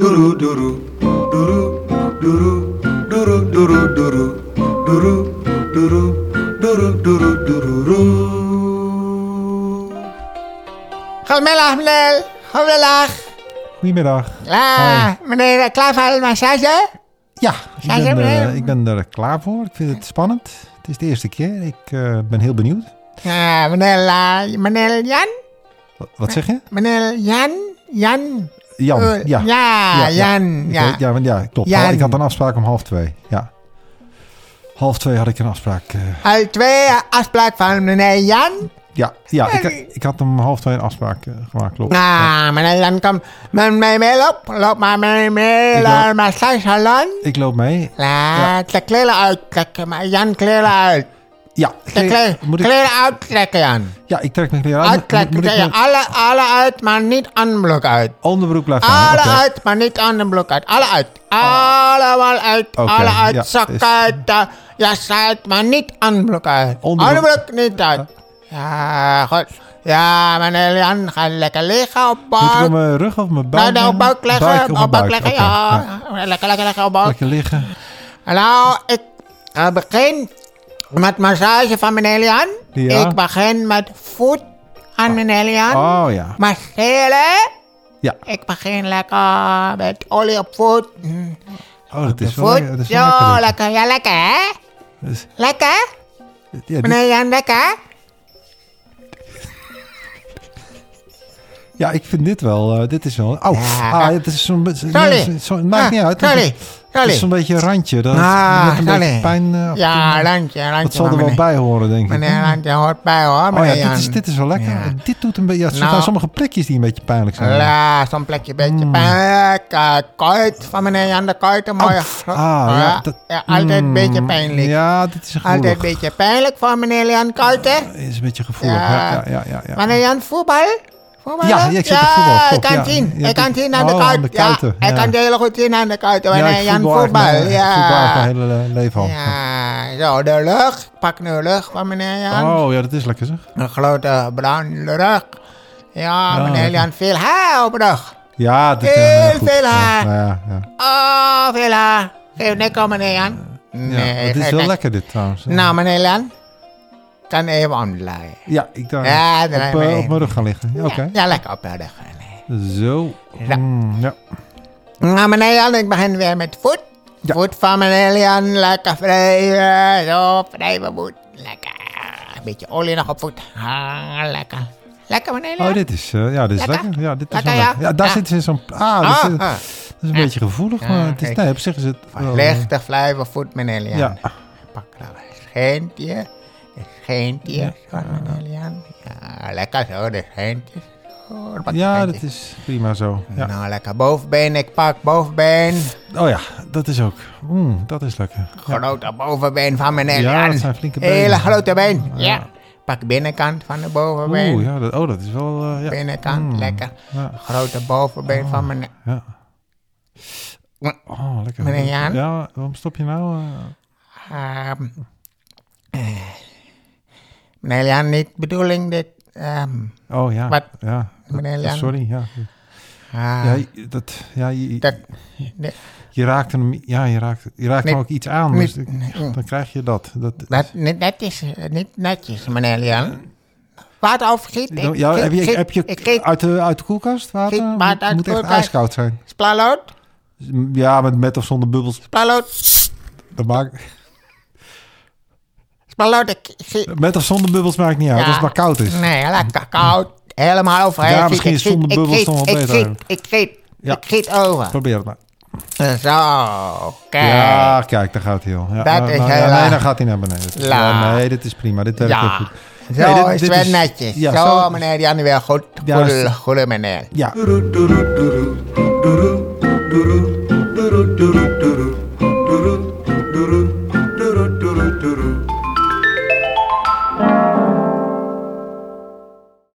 Doeroe, doeroe, doeroe, doeroe, doeroe, doeroe, doeroe, doeroe, doeroe, doeroe, doeroe, doeroe. Goedemiddag, meneer. Goedemiddag. Goedemiddag. Ah, meneer, klaar voor de massage? Ja, ik Zijn ze ben, er- eh, ik ben er klaar voor. Ik vind het spannend. Het is de eerste keer. Ik eh, ben heel benieuwd. Ja, meneer, eh, meneer Jan? Wa- Wat zeg je? Meneer Jan? Jan? Jan. Eh, ja. ja, Jan. Ik Ja. weet- ja, want ja, klopt. Jan. Ik had een afspraak om half twee. Ja. Half twee had ik een afspraak. eh, Al twee eh, afspraak van meneer Jan? ja, ja ik, ik had om half twee een afspraak eh, gemaakt, klopt. Nou, meneer Jan, kom met mij mee op. Loop maar mee mee Ik naar de loop. massagesalon. Ik loop mee. Laat de kleren uittrekken, maar Jan, kleren uit. Ja, De kleren, moet ik, kleren uittrekken, Jan. ja, ik trek mijn kleren aan. Moet- Uittrekken, Moet ik kleren. mijn alle, alle uit, maar niet onderbroek uit. onderbroek blijven hangen? Alle Oké. uit, maar niet aan de blok uit. Alle uit. Allemaal uit. Oké, Alle uit. ja, Zak is- uit. eh, jas uit, maar niet aan de blok uit. Onderbroek. Alle blok niet uit. Ja, goed. Ja, meneer Jan, ga lekker liggen op Moet ik op buik. mijn rug of op mijn buik? Nou, nou, op buik leggen. Buik, op mijn buik. leggen, Oké, ja. Lekker, lekker, lekker op buik. Lekker liggen. Nou, ik eh, begin met massage van meneer Jan. Ja. Ik begin met voet aan meneer Jan. Oh ja. Masseren. Ja. Ik begin lekker met olie op voet. Mm, Oh, dat is wel Voet. lekker. Dat is wel Zo, lekker. lekker. Ja, lekker hè? Dat is- Lekker? ja, dit- Meneer Jan, lekker? ja, ik vind dit wel. eh, dit is wel. Oh, Ja. ah, het is zo'n beetje. Sorry. nee, zo- het maakt Ah, niet uit. sorry. Het is- Het Sorry. is zo'n beetje een randje. Dat Ah, met een sorry. beetje pijn. eh, op- Ja, landje, landje. dat zal maar er wel meneer- bij horen, denk ik. Meneer Landje hoort bij hoor, oh meneer ja, dit is, Jan. dit is wel lekker. Ja. Dit doet een beetje. Ja, er Nou. zijn sommige plekjes die een beetje pijnlijk zijn. Ja, zo'n plekje beetje Mm. pijn. Eh, Kuit van meneer Jan de Kuit, een mooie gro- Ah, ja, Oh, Ja, dat- ja, altijd een mm, beetje pijnlijk. Ja, dit is Altijd gevoelig. een beetje pijnlijk voor meneer Jan Kuiten. Dit is een beetje gevoelig. Ja, ja, ja. ja, ja. Meneer Jan, voetbal? voetbal? Ja, ja, ik zit op voetbal, ik klopt, kan ja. zien. Ja, ik kan dit- zien aan de oh, kuit. aan de kuiten, Ja, ik ja. kan heel goed zien aan de kuiten. Ja, Meneer ik Jan, voetbal echt voetbal. mijn- voetbal echt Ja. mijn hele eh, leven al. ja, zo, de lucht. Ik Pak nu lucht van meneer Jan. Oh ja, dat is lekker zeg. Een grote bruine lucht. Ja, Ja, meneer lekker. Jan, veel haar op de dag. Ja, dit Heel nou ja, goed. veel Ja, haar. nou ja, ja. Oh, veel haar. Geef nek aan, meneer Jan. Ja, Nee, het is geef wel nek. lekker dit trouwens. Nou, meneer Jan, kan even omdraaien. Ja, ik daar Ja, op, draai eh, maar heen. op mijn rug gaan liggen. Ja, Oké. Ja, lekker op de rug. Zo. Ja. Mm, ja. Nou, meneer Jan, ik begin weer met voet. Ja. Voet van meneer Jan, lekker wrijven. Zo, wrijven voet. Lekker. Een beetje olie nog op voet. Ah, lekker. Lekker, meneer Jan. Oh, dit is, eh, ja, dit is Lekker. lekker. Ja, dit is Lekker, wel ja. lekker. Ja, daar Ja. zit ze in zo'n... Ah, dat Ah, is, ah. dat is een beetje gevoelig, Ja, maar het is, kijk. nee, op zich is het... wel- Lichte wrijven voet, meneer Jan. oh. Ja. Pak nou een scheentje. Een scheentje van meneer Jan. Ja, lekker zo, de scheentjes. Zo, pak een ja, scheentje. dat is prima zo. Ja. Nou, lekker bovenbeen. Ik pak bovenbeen. Oh ja, dat is ook. Mm, dat is lekker. Ja. Grote bovenbeen van meneer Ja, Jan. dat zijn flinke dus Hele benen. grote been. Ja. Pak binnenkant van de bovenbeen. Oeh, ja, dat, oh, dat is wel... eh, ja. Binnenkant, Mm, lekker. Ja. Grote bovenbeen van meneer... ja. Oh, lekker. Meneer Jan? Ja, waarom stop je nou? eh? Ehm, eh, meneer Jan, niet bedoeling dit. ehm, oh ja. Wat? Ja. dat- Meneer Jan? Eh, Sorry, ja. ah, Ja, je- dat, ja je, dat- dit- je raakt hem, ja, je raakt, je raakt Nee. hem ook iets aan. Nee. Dus mm, ik- dan krijg je dat. dat, Dat, net- dat is eh, niet netjes, meneer Jan. Water overgiet. Ik, ja, giet- heb je, giet- heb je ik giet uit, de, uit de koelkast water? Giet Het maar moet, uit de moet echt koelkast. ijskoud zijn. splallood, Ja, met, met of zonder bubbels. splallood, Dat maakt, splallood. Ik giet- met of zonder bubbels maakt niet uit, Ja. als het maar koud Nou, dus. is. Nee, lekker koud. Helemaal overheen. Ja, giet. misschien Ik is giet- zonder ik bubbels giet- nog wel ik beter giet- eigenlijk. Ik giet, Ja. ik giet over. Probeer het maar. Zo, kijk. Ja, kijk, daar gaat hij al. Ja, Dat nou, is nou, heel ja, laag. Nee, dan gaat hij naar beneden. Dat is- Laag. Ja, nee, dit is prima. Dit werkt heel Ja, goed. zo Nee, dit- is dit het wel netjes. ja, zo, meneer Jan, weer goed. Ja, Goede, is- goede meneer. Ja, Doeroe, doeroe, doeroe,